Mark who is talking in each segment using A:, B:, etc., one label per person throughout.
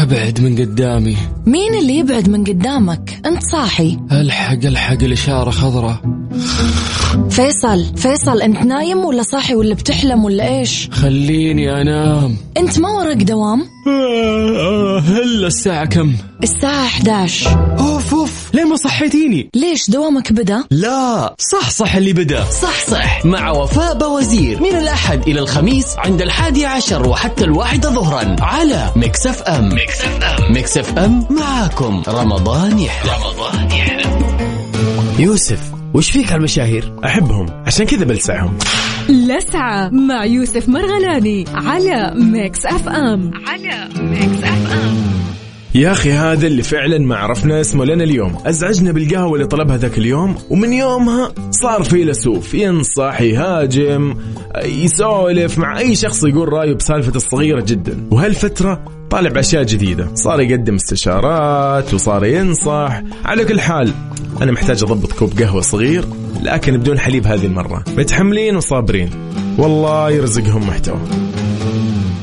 A: ابعد من قدامي
B: مين اللي يبعد من قدامك انت صاحي
A: الحق الحق الاشاره خضراء
B: فيصل فيصل انت نايم ولا صاحي ولا بتحلم ولا ايش
A: خليني انام
B: انت ما ورق دوام
A: آه، هلا الساعه كم
B: الساعة 11
A: اوف اوف ليه ما صحيتيني
B: ليش دوامك بدأ
C: لا
A: صح صح اللي بدا
C: صح صح مع وفاء بوزير من الأحد إلى الخميس عند الحادي عشر وحتى الواحدة ظهرا على مكسف أم مكسف أم مكسف أم معاكم رمضان يحلى رمضان يحلى يوسف وش فيك على المشاهير؟
D: احبهم عشان كذا بلسعهم
E: لسعة مع يوسف مرغلاني على ميكس اف ام على ميكس اف ام
D: يا اخي هذا اللي فعلا ما عرفنا اسمه لنا اليوم ازعجنا بالقهوه اللي طلبها ذاك اليوم ومن يومها صار فيلسوف ينصح يهاجم يسولف مع اي شخص يقول رايه بسالفه الصغيره جدا وهالفتره طالع باشياء جديده صار يقدم استشارات وصار ينصح على كل حال انا محتاج اضبط كوب قهوه صغير لكن بدون حليب هذه المره متحملين وصابرين والله يرزقهم محتوى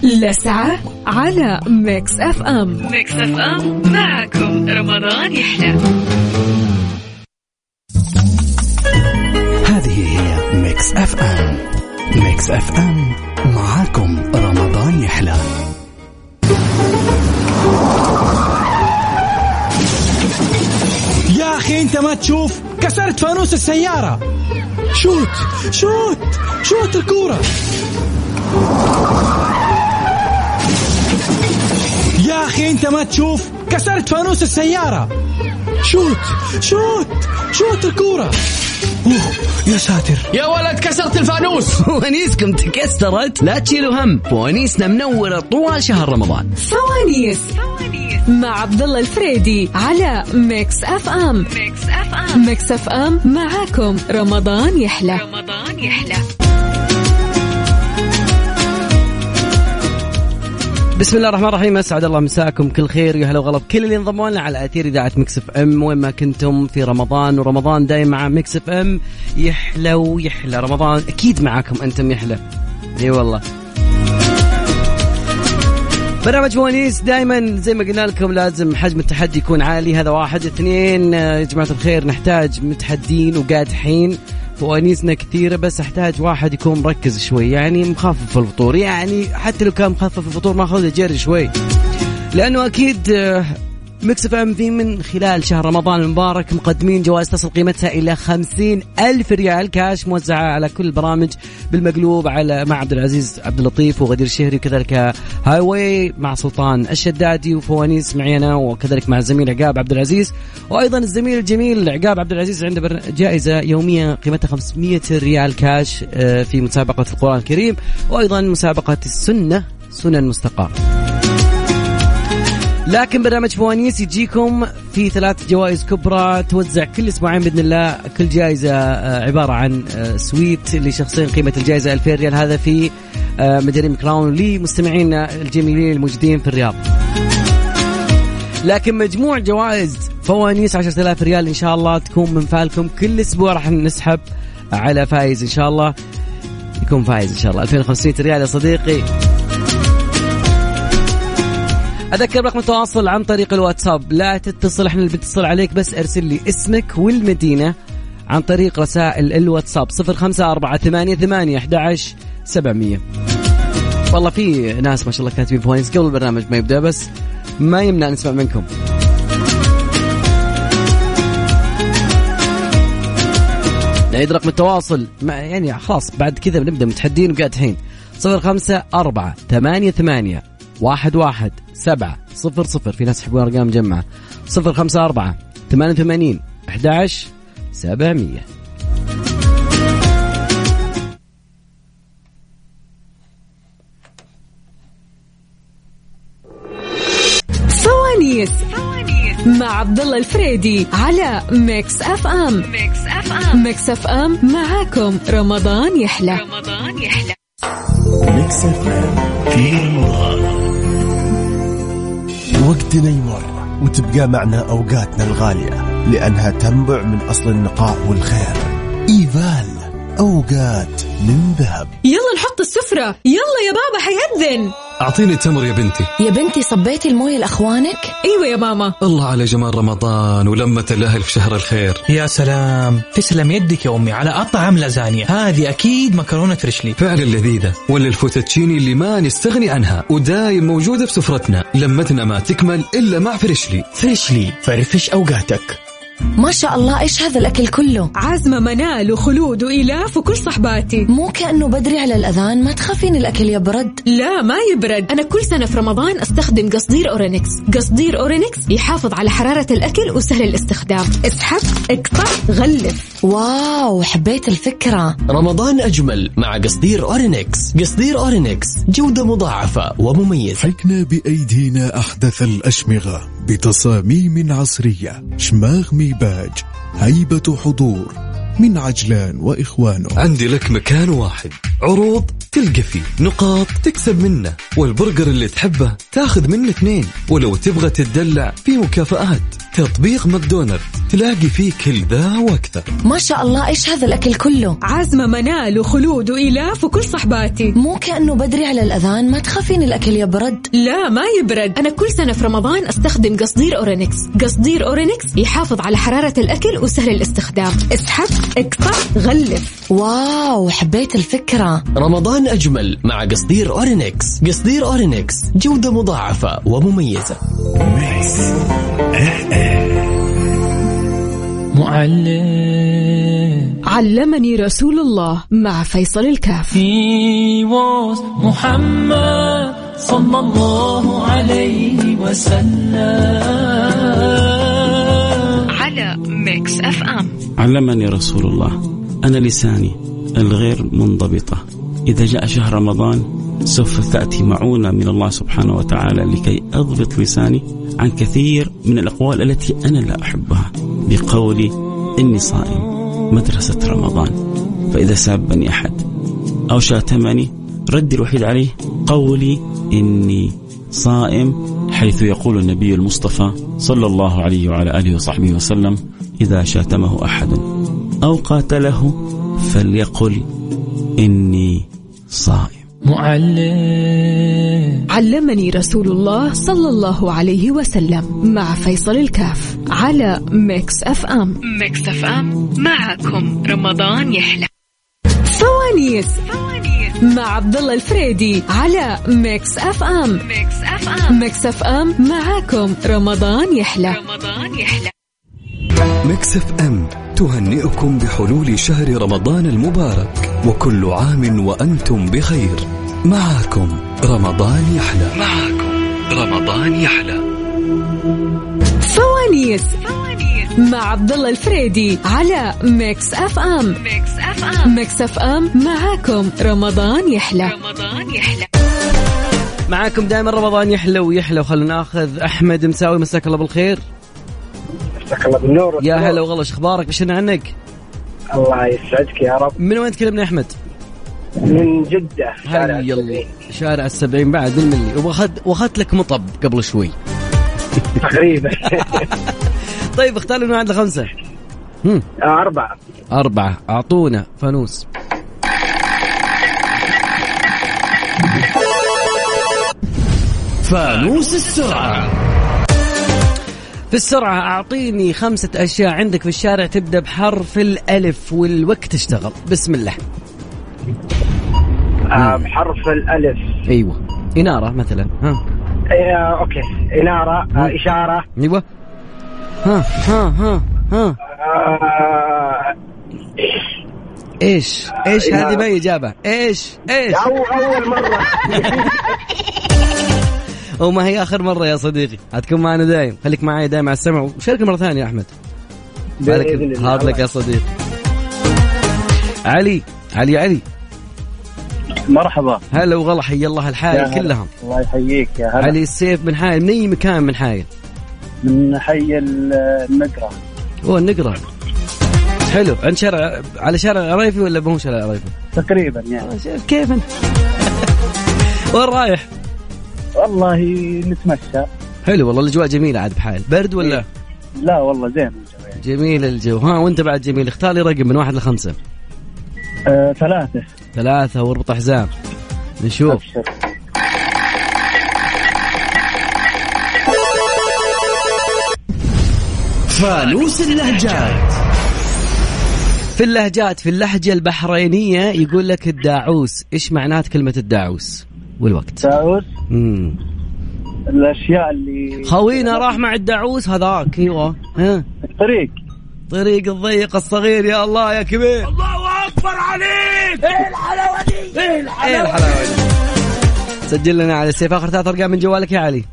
E: لسعة على ميكس اف ام ميكس اف ام معكم رمضان يحلى
C: هذه هي ميكس أف أم ميكس أف أم معاكم رمضان يحلى
F: يا اخي انت ما تشوف كسرت فانوس السياره شوت شوت شوت الكوره يا اخي انت ما تشوف كسرت فانوس السياره شوت شوت شوت الكوره اوه يا ساتر
C: يا ولد كسرت الفانوس فوانيسكم تكسرت لا تشيلوا هم فوانيسنا منورة طوال شهر رمضان
E: فوانيس مع عبد الله الفريدي على ميكس اف ام ميكس اف ام ميكس اف ام معاكم رمضان يحلى رمضان يحلى
G: بسم الله الرحمن الرحيم اسعد الله مساكم كل خير يا هلا وغلا بكل اللي انضموا لنا على اثير اذاعه مكس اف ام وين ما كنتم في رمضان ورمضان دايم مع مكس اف ام يحلى ويحلى رمضان اكيد معاكم انتم يحلى اي والله برنامج فوانيس دائما زي ما قلنا لكم لازم حجم التحدي يكون عالي هذا واحد اثنين آه، يا جماعه الخير نحتاج متحدين وقادحين فوانيسنا كثيره بس احتاج واحد يكون مركز شوي يعني مخفف الفطور يعني حتى لو كان مخفف الفطور ما اخذ جري شوي لانه اكيد مكس اف ام في من خلال شهر رمضان المبارك مقدمين جوائز تصل قيمتها الى خمسين الف ريال كاش موزعه على كل البرامج بالمقلوب على مع عبد العزيز عبد اللطيف وغدير الشهري وكذلك هاي واي مع سلطان الشدادي وفوانيس معي انا وكذلك مع الزميل عقاب عبد العزيز وايضا الزميل الجميل عقاب عبد العزيز عنده برن- جائزه يوميه قيمتها 500 ريال كاش آه، في مسابقه القران الكريم وايضا مسابقه السنه سنن مستقاه لكن برنامج فوانيس يجيكم في ثلاث جوائز كبرى توزع كل اسبوعين باذن الله كل جائزه آه، عباره عن آه، سويت لشخصين قيمه الجائزه 2000 ريال هذا في آه، مداريم كراون لمستمعينا الجميلين الموجودين في الرياض. لكن مجموع جوائز فوانيس 10000 ريال ان شاء الله تكون من فالكم كل اسبوع راح نسحب على فايز ان شاء الله يكون فايز ان شاء الله 2500 ريال يا صديقي اذكر رقم التواصل عن طريق الواتساب لا تتصل احنا اللي بنتصل عليك بس ارسل لي اسمك والمدينه عن طريق رسائل الواتساب 0548811700 والله في ناس ما شاء الله كاتبين بوينتس قبل البرنامج ما يبدا بس ما يمنع نسمع منكم نعيد رقم التواصل ما يعني خلاص بعد كذا بنبدا متحدين وقادحين صفر خمسة أربعة ثمانية ثمانية واحد واحد سبعة صفر صفر في ناس يحبون أرقام مجمعة صفر خمسة أربعة ثمانية ثمانين أحد عشر سبعمية
E: فوانيس مع عبد الله الفريدي على ميكس اف ام ميكس اف ام ميكس اف ام معاكم رمضان يحلى رمضان يحلى
H: وقتنا يمر وتبقى معنا أوقاتنا الغالية لأنها تنبع من أصل النقاء والخير إيفال أوقات من ذهب
E: يلا نحط السفرة يلا يا بابا حيأذن
I: أعطيني التمر يا بنتي
B: يا بنتي صبيتي المويه لاخوانك
E: ايوه يا ماما
I: الله على جمال رمضان ولمة الأهل في شهر الخير
J: يا سلام تسلم يدك يا أمي على أطعم لازانيا هذه أكيد مكرونة ريشلي
I: فعلا لذيذة ولا الفوتتشيني اللي ما نستغني عنها ودايم موجودة بسفرتنا لمتنا ما تكمل إلا مع فريشلي
C: فريشلي فرفش أوقاتك
B: ما شاء الله ايش هذا الاكل كله
E: عزمة منال وخلود وإلاف وكل صحباتي
B: مو كانه بدري على الاذان ما تخافين الاكل يبرد
E: لا ما يبرد أنا كل سنة في رمضان أستخدم قصدير أورينكس قصدير أورينكس يحافظ على حرارة الأكل وسهل الاستخدام اسحب اقطع غلف
B: واو حبيت الفكره
C: رمضان أجمل مع قصدير أورينكس قصدير أورينكس جودة مضاعفة ومميزة
K: حكنا بأيدينا أحدث الأشمغة بتصاميم عصرية شماغ ميباج هيبة حضور من عجلان وإخوانه
I: عندي لك مكان واحد عروض تلقى فيه نقاط تكسب منه والبرجر اللي تحبه تاخذ منه اثنين ولو تبغى تتدلع في مكافآت تطبيق ماكدونالد تلاقي فيه كل ذا واكثر
B: ما شاء الله ايش هذا الاكل كله
E: عزمة منال وخلود وإلاف وكل صحباتي
B: مو كانه بدري على الاذان ما تخافين الاكل يبرد
E: لا ما يبرد أنا كل سنة في رمضان أستخدم قصدير أورينكس قصدير أورينكس يحافظ على حرارة الأكل وسهل الاستخدام اسحب اقطع غلف
B: واو حبيت الفكره
C: رمضان أجمل مع قصدير أورينكس قصدير أورينكس جودة مضاعفة ومميزة
L: معلم
E: علمني رسول الله مع فيصل الكاف
L: He was Muhammad صلى الله عليه وسلم
E: على ميكس اف ام
M: علمني رسول الله أنا لساني الغير منضبطة إذا جاء شهر رمضان سوف تأتي معونة من الله سبحانه وتعالى لكي أضبط لساني عن كثير من الأقوال التي أنا لا أحبها بقولي إني صائم مدرسة رمضان فإذا سابني أحد أو شاتمني ردي الوحيد عليه قولي إني صائم حيث يقول النبي المصطفى صلى الله عليه وعلى آله وصحبه وسلم إذا شاتمه أحد أو قاتله فليقل إني صائم
L: معلم
E: علمني رسول الله صلى الله عليه وسلم مع فيصل الكاف على ميكس اف ام ميكس اف ام معكم رمضان يحلى فوانيس مع عبد الله الفريدي على ميكس اف ام ميكس اف ام ميكس اف ام معاكم رمضان يحلى رمضان يحلى
I: مكسف أم تهنئكم بحلول شهر رمضان المبارك وكل عام وأنتم بخير معاكم رمضان يحلى معاكم رمضان يحلى
E: فوانيس مع عبد الله الفريدي على ميكس اف ام ميكس اف ام ميكس اف ام معاكم رمضان يحلى رمضان يحلى
G: معاكم دائما رمضان يحلى ويحلى وخلونا ناخذ احمد مساوي مساك الله بالخير
N: مساك الله بالنور
G: يا هلا وغلا ايش اخبارك بشنا عنك
N: الله يسعدك يا رب
G: من وين تكلمنا يا احمد
N: من جدة شارع
G: هيا الله
N: السبعين.
G: شارع السبعين بعد بالملي واخذت واخذت لك مطب قبل شوي
N: تقريبا
G: طيب اختار لنا واحد لخمسه هم.
N: آه، أربعة
G: أربعة أعطونا فانوس
C: فانوس السرعة
G: في السرعة أعطيني خمسة أشياء عندك في الشارع تبدأ بحرف الألف والوقت اشتغل بسم الله
N: آه، بحرف الألف
G: أيوة إنارة مثلا ها
N: آه، أوكي إنارة آه، إشارة
G: أيوة ها ها ها ها
N: آه،
G: ايش ايش
N: إنارة.
G: هذه ما هي اجابه ايش ايش
N: أو أول مرة
G: وما هي اخر مره يا صديقي حتكون معنا دايم خليك معي دايم على السمع وشارك مره ثانيه يا احمد
N: بإذن
G: بالك
N: الله.
G: هارد لك يا صديقي علي علي علي
N: مرحبا
G: هلا وغلا حي الله
N: يا
G: الحايل
N: هلا.
G: كلهم
N: الله يحييك يا
G: علي السيف من حايل من اي مكان من حايل
N: من حي النقرة
G: اوه النقرة حلو عند شارع على شارع العرايفي ولا مو شارع العرايفي؟
N: تقريبا يعني
G: آه، شايف كيف انت؟ وين رايح؟
N: والله نتمشى
G: حلو والله الاجواء جميله عاد بحايل برد ولا؟
N: إيه. لا والله زين الجو يعني.
G: جميل الجو ها وانت بعد جميل اختار لي رقم من واحد لخمسه
N: آه، ثلاثة
G: ثلاثة واربط حزام نشوف
N: أبشر
C: فانوس اللهجات
G: في اللهجات في اللهجة البحرينية يقول لك الداعوس إيش معنات كلمة الداعوس والوقت
N: داعوس
G: مم.
N: الاشياء اللي
G: خوينا راح مع الداعوس هذاك ايوه ها
N: الطريق
G: طريق الضيق الصغير يا الله يا كبير إيه
L: الله اكبر عليك ايه الحلاوه دي ايه
G: ايه الحلاوه دي؟ سجل لنا على السيف اخر ثلاث ارقام من جوالك يا علي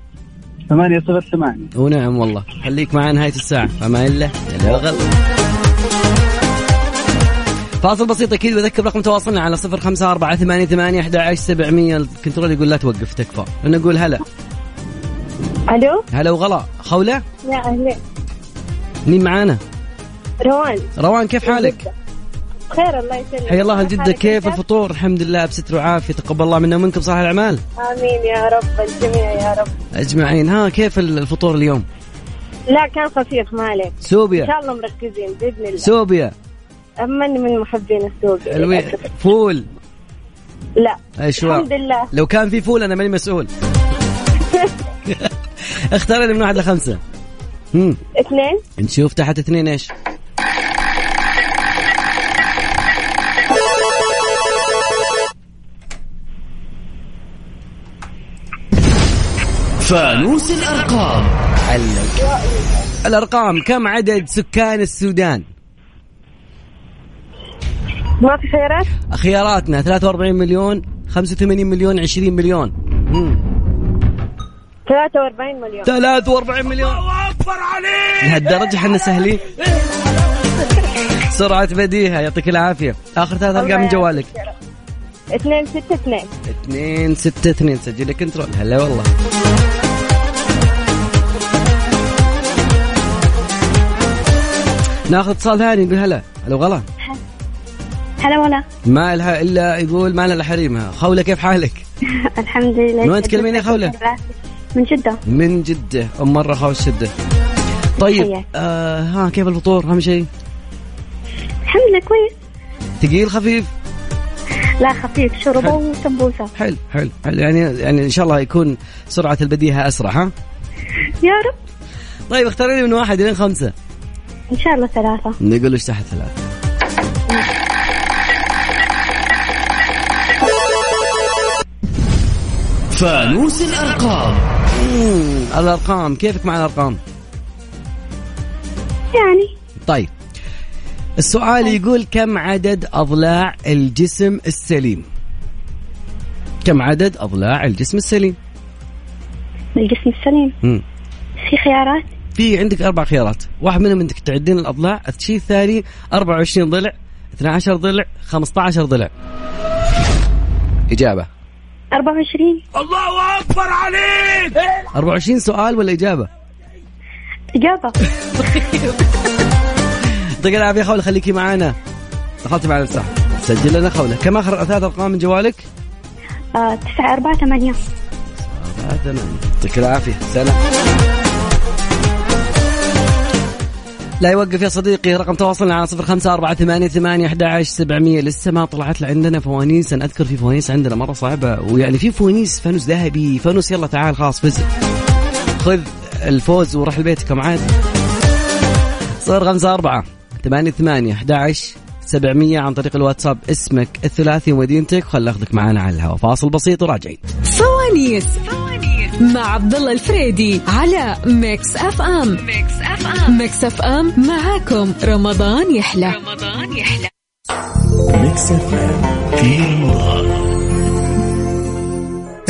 N: 808
G: ونعم نعم والله خليك معنا نهايه الساعه فما الا الا غلط فاصل بسيط اكيد بذكر رقم تواصلنا على 0548811700 الكنترول يقول لا توقف تكفى نقول هلا
O: الو
G: هلا وغلا خوله
O: يا اهلا
G: مين معانا
O: روان
G: روان كيف
O: إيه.
G: حالك
O: بخير الله يسلمك
G: حيا الله جدة كيف الفطور الحمد لله بستر وعافية تقبل الله منا ومنكم صالح الأعمال
O: امين يا رب الجميع يا رب
G: أجمعين ها كيف الفطور اليوم
O: لا كان خفيف ما عليك
G: سوبيا.
O: ان شاء الله مركزين باذن الله
G: سوبيا
O: اما اني من محبين السوبيا
G: الوي...
O: للأسف.
G: فول
O: لا
G: أشواق.
O: الحمد لله
G: لو كان في فول أنا ماني مسؤول اختار لي من واحد لخمسة مم.
O: اثنين
G: نشوف تحت اثنين ايش
C: فانوس الارقام
G: علق الأرقام كم عدد سكان السودان
O: ما في خيارات
G: خياراتنا 43 مليون 85 مليون 20 مليون مم.
O: 43 مليون
G: 43 مليون لهالدرجة احنا سهلين سرعة بديهة يعطيك العافية آخر ثلاث أرقام من جوالك
O: اثنين ستة اثنين
G: 2 6 2 سجل لك كنترول هلا والله ناخذ اتصال ثاني نقول هلا هلا غلا
P: هلا ولا
G: ما لها الا يقول ما لها إلا حريمها خوله كيف حالك؟
P: الحمد لله
G: من وين تكلمين يا خولة؟
P: من جدة
G: من جده ام مره خوش جده طيب
P: تحياتي.
G: آه ها كيف الفطور اهم شيء؟
P: الحمد لله كويس
G: ثقيل خفيف؟
P: لا خفيف شوربة وسمبوسة
G: حلو حلو حلو يعني يعني ان شاء الله يكون سرعه البديهه اسرع ها؟
P: يا رب
G: طيب اختاري لي من واحد الى خمسه
P: إن شاء الله ثلاثة
G: نقول ايش تحت ثلاثه
C: فانوس الارقام
G: مم، الارقام كيفك مع الارقام؟
P: يعني
G: طيب السؤال يقول كم عدد اضلاع الجسم السليم؟ كم عدد اضلاع الجسم السليم؟
P: الجسم السليم
G: مم.
P: في خيارات
G: في عندك اربع خيارات، واحد منهم انك تعدين الاضلاع، الشيء الثاني 24 ضلع، 12 ضلع، 15 ضلع. اجابه
P: 24
L: الله اكبر عليك ايه
G: 24 سؤال ولا اجابه؟
P: إجابة
G: يعطيك العافيه خوله خليكي معانا. دخلت معنا الساحه. سجل لنا خوله، كم اخر ثلاث ارقام من جوالك؟
P: آه، تسعة أربعة ثمانية
G: آه، تمام يعطيك العافيه سلام لا يوقف يا صديقي رقم تواصلنا على صفر خمسة أربعة ثمانية ثمانية أحد عشر سبعمية لسه ما طلعت لي عندنا فوانيس أنا أذكر في فوانيس عندنا مرة صعبة ويعني في فوانيس فانوس ذهبي فانوس يلا تعال خلاص فز خذ الفوز وروح لبيتك كم عاد صفر خمسة أربعة ثمانية ثمانية أحد عشر سبعمية عن طريق الواتساب اسمك الثلاثي ومدينتك خل أخذك معانا على الهواء فاصل بسيط وراجعين
E: فوانيس مع عبد الله الفريدي على ميكس اف ام ميكس اف ام ميكس اف ام معاكم رمضان يحلى رمضان يحلى
L: ميكس اف ام في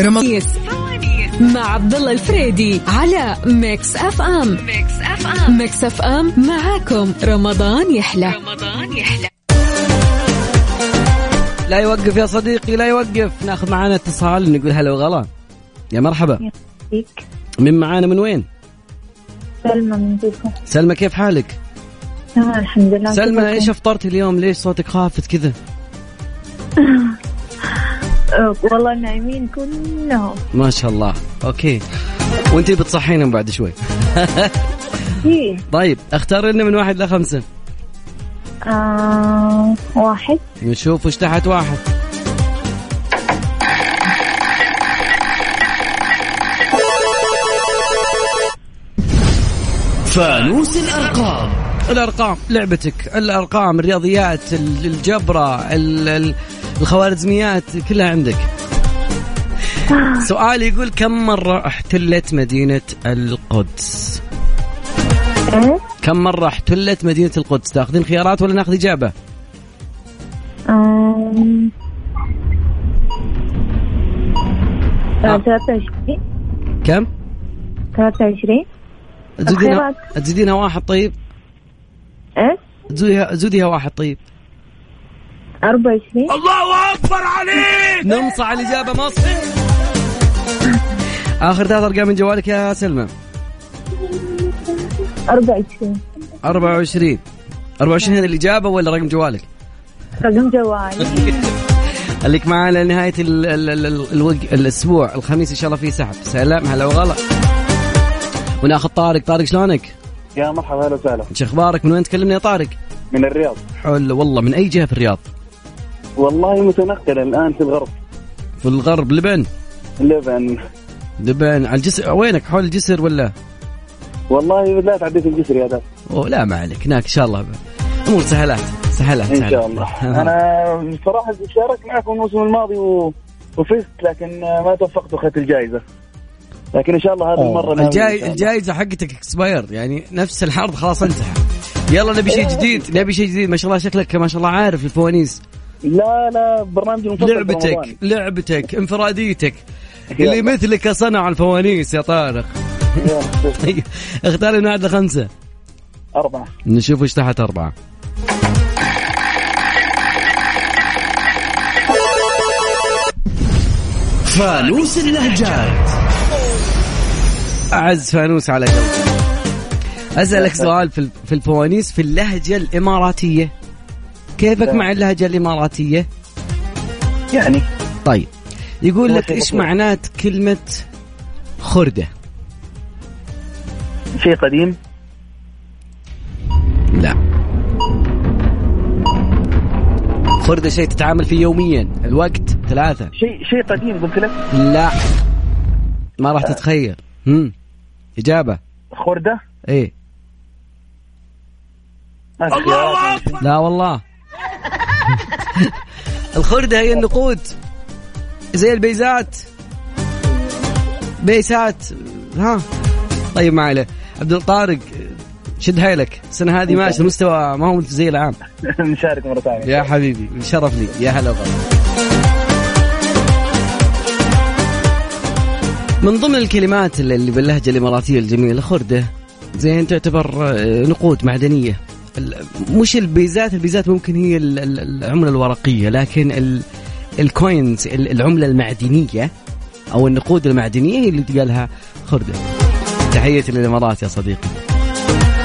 L: رمضان
E: رمضان مع عبد الله الفريدي على ميكس اف ام ميكس اف ام ميكس اف ام معاكم رمضان يحلى رمضان يحلى
G: لا يوقف يا صديقي لا يوقف ناخذ معانا اتصال نقول هلا وغلا يا مرحبا
Q: فيك
G: من معانا من وين
Q: سلمى من جدة
G: سلمى كيف حالك
Q: آه الحمد لله
G: سلمى
Q: كيفكم؟
G: ايش افطرتي اليوم ليش صوتك خافت كذا
Q: آه، والله نايمين كلهم
G: ما شاء الله اوكي وانت بتصحينا بعد شوي
Q: في
G: طيب اختار لنا من واحد لخمسة
Q: آه واحد
G: نشوف وش تحت واحد
C: فانوس الأرقام
G: الارقام لعبتك الارقام الرياضيات ال- الجبره ال- ال- الخوارزميات كلها عندك سؤال يقول كم مره احتلت مدينه القدس كم مره احتلت مدينه القدس تاخذين خيارات ولا ناخذ اجابه
Q: أم. آه، 23
G: كم
Q: 23
G: تزيدينها
Q: الخيارات.
G: تزيدينها واحد طيب
Q: ايش
G: تزيديها زوديها واحد طيب
Q: 24
L: الله اكبر عليك
G: نمص على الاجابه مصر اخر ثلاث ارقام من جوالك يا سلمى
Q: 24
G: 24 24 هنا الاجابه ولا رقم جوالك؟
Q: رقم جوالي
G: خليك معنا لنهايه ال ال ال ال الوق- الاسبوع الخميس ان شاء الله في سحب سلام هلا وغلا وناخذ طارق طارق شلونك؟
N: يا مرحبا اهلا وسهلا
G: ايش اخبارك؟ من وين تكلمني يا طارق؟
N: من الرياض
G: حلو والله من اي جهه في الرياض؟
N: والله متنقل الان في الغرب
G: في الغرب لبن
N: لبن
G: لبن على الجسر وينك حول الجسر ولا؟
N: والله لا تعديت الجسر يا دار
G: أوه لا ما عليك هناك ان شاء الله امور سهلات سهلات
N: ان
G: سهلات.
N: شاء الله انا بصراحه شاركت معكم الموسم الماضي و... وفزت لكن ما توفقت واخذت الجائزه لكن ان شاء الله هذه المره ناوي إن شاء
G: الجاي
N: الله.
G: الجائزه حقتك اكسباير يعني نفس الحرض خلاص انتهى يلا نبي
N: إيه.
G: شيء جديد نبي شيء جديد ما شاء الله شكلك ما شاء الله عارف الفوانيس
N: لا لا برنامج المفضل
G: لعبتك لعبتك انفراديتك اللي
N: يلا.
G: مثلك صنع الفوانيس يا طارق طيب، اختار لنا عدد خمسه
N: أربعة
G: نشوف ايش تحت اربعه
C: فانوس اللهجات
G: اعز فانوس على قلبي اسالك سؤال في في الفوانيس في اللهجه الاماراتيه كيفك
N: لا.
G: مع اللهجه الاماراتيه
N: يعني
G: طيب يقول
N: الله
G: لك ايش
N: يحفظك.
G: معنات كلمه خرده
N: شيء قديم
G: لا خرده شيء تتعامل فيه يوميا الوقت ثلاثه
N: شيء شيء قديم قلت لك
G: لا ما راح تتخيل هم. اجابه
N: خردة
G: ايه
N: الله أكبر
G: لا والله الخردة هي النقود زي البيزات بيسات ها طيب ما عليه عبد الطارق شد هيلك السنة هذه ماشي المستوى ما هو زي العام
N: نشارك مرة ثانية
G: يا حبيبي شرف لي يا هلا والله من ضمن الكلمات اللي- اللي باللهجة الإماراتية الجميلة خردة زين تعتبر آه، نقود معدنية ال- مش البيزات البيزات ممكن هي ال- ال- العملة الورقية لكن ال- الكوينز ال- العملة المعدنية أو النقود المعدنية هي اللي تقال لها خردة تحياتي للإمارات يا صديقي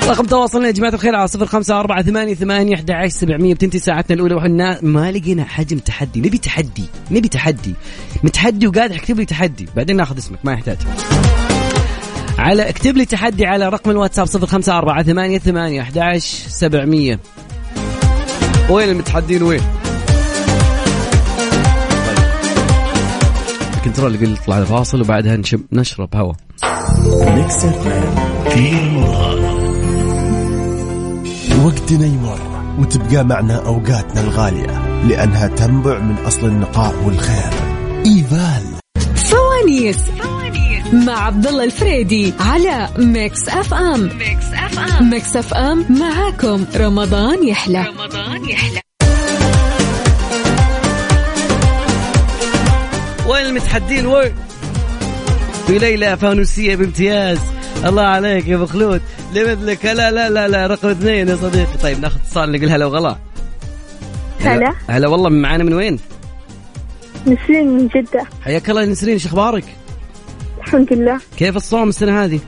G: رقم تواصلنا يا جماعة الخير على صفر خمسة أربعة ثمانية ثمانية أحد عشر سبعمية بتنتهي ساعتنا الأولى وحنا ما لقينا حجم تحدي نبي تحدي نبي تحدي متحدي وقاعد اكتب لي تحدي بعدين ناخذ اسمك ما يحتاج على اكتب لي تحدي على رقم الواتساب صفر خمسة أربعة ثمانية ثمانية أحد عشر سبعمية وين المتحدين وين طيب. الكنترول يقول اطلع الفاصل وبعدها نشب نشرب هواء
H: وقتنا يمر وتبقى معنا أوقاتنا الغالية لأنها تنبع من أصل النقاء والخير إيفال
E: فوانيس مع عبد الله الفريدي على ميكس اف ام ميكس اف ام ميكس اف ام معاكم رمضان يحلى رمضان يحلى
G: وين المتحدين وين؟ في ليلة فانوسية بامتياز الله عليك يا ابو خلود لمثلك لا لا لا لا رقم اثنين يا صديقي طيب ناخذ اتصال نقول هلا وغلا
O: هلا
G: هلا والله من معانا من وين؟
O: نسرين من جدة
G: حياك الله يا نسرين شو اخبارك؟
O: الحمد لله
G: كيف الصوم السنة هذه؟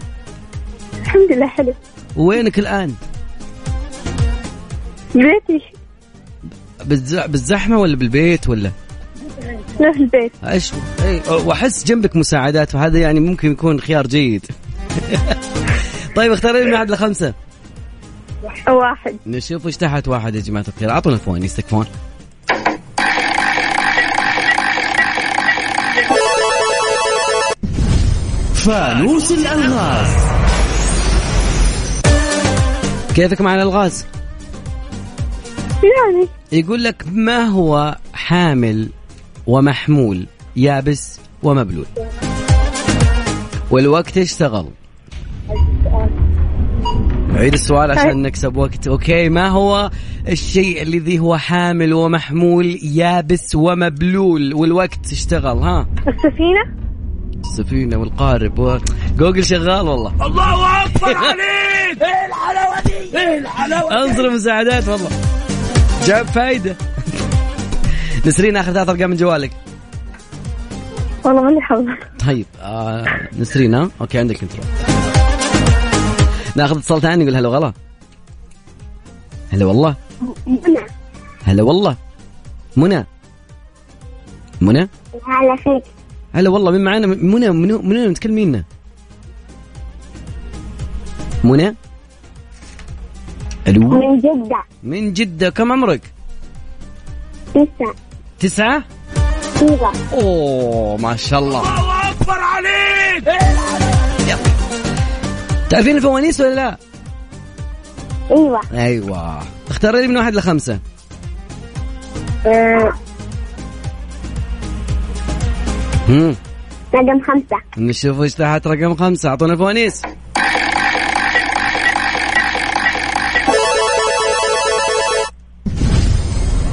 O: الحمد لله حلو
G: وينك الآن؟
O: بيتي
G: بالز- بالزحمة ولا بالبيت ولا؟
O: لا في البيت
G: ايش أي- واحس جنبك مساعدات فهذا يعني ممكن يكون خيار جيد طيب اختار لي من واحد لخمسة
O: واحد
G: نشوف ايش تحت واحد يا جماعة الخير اعطونا فوانيس تكفون
C: فانوس الألغاز
G: كيفك مع الالغاز؟
O: يعني
G: يقول لك ما هو حامل ومحمول يابس ومبلول والوقت اشتغل عيد السؤال عشان نكسب وقت اوكي ما هو الشيء الذي هو حامل ومحمول يابس ومبلول والوقت اشتغل ها
O: السفينة
G: السفينه والقارب و... جوجل شغال والله إيه
L: الله اكبر عليك ايه الحلاوه دي ايه الحلاوه
G: انظر المساعدات والله جاب فايده نسرين اخر ثلاث ارقام من جوالك
O: والله ماني حافظة
G: طيب آه نسرين ها اوكي عندك كنترول ناخذ اتصال ثاني نقول هلا وغلا هلا والله هلا والله منى منى
O: هلا فيك
G: هلا والله مين معانا منى منو منو متكلمين منى الو
O: من جدة
G: من جدة كم عمرك؟
O: تسعة
G: تسعة؟
O: تسعة
G: اوه ما شاء الله
L: الله اكبر عليك ايه
G: تعرفين الفوانيس ولا لا؟
O: ايوه
G: ايوه اختاري لي من واحد لخمسة
O: آه،
G: هم.
O: رقم خمسة
G: نشوف ايش تحت رقم خمسة اعطونا الفوانيس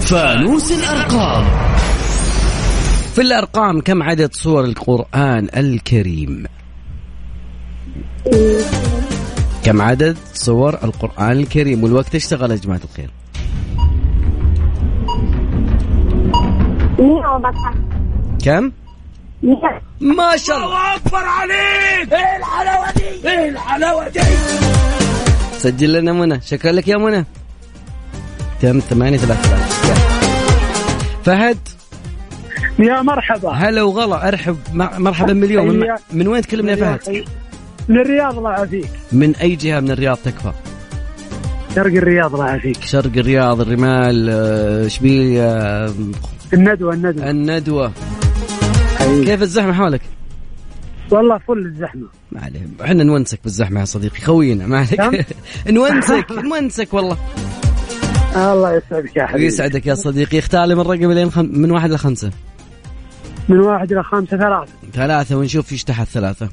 C: فانوس الأرقام
G: في الارقام كم عدد سور القرآن الكريم؟ كم عدد سور القرآن الكريم والوقت اشتغل يا جماعة الخير؟
O: 114
G: كم؟
O: 100
G: ما شاء الله إيه
L: الله اكبر عليك ايه الحلاوه دي ايه الحلاوه دي
G: سجل لنا منى شكرا لك يا منى تم ثمانية ثلاثة فهد
R: يا مرحبا
G: هلا وغلا ارحب مع- مرحبا مليون من,
R: حياك.
G: من وين تكلمنا يا فهد؟
R: من الرياض الله يعافيك
G: من اي جهة من الرياض تكفى؟
R: شرق الرياض الله يعافيك
G: شرق الرياض الرمال آه، اشبيلية آه،
R: الندوه الندوه
G: الندوة
L: أيوه.
G: كيف الزحمة حولك؟
R: والله فل الزحمه
G: ما عليه احنا نونسك بالزحمة يا صديقي خوينا ما عليك نونسك نونسك والله
R: الله يسعدك يا حبيبي
G: ويسعدك يا صديقي اختار لي من الرقم لين خم... من واحد لخمسة
R: من واحد الى خمسه ثلاثه
G: ثلاثة ونشوف ايش تحت ثلاثة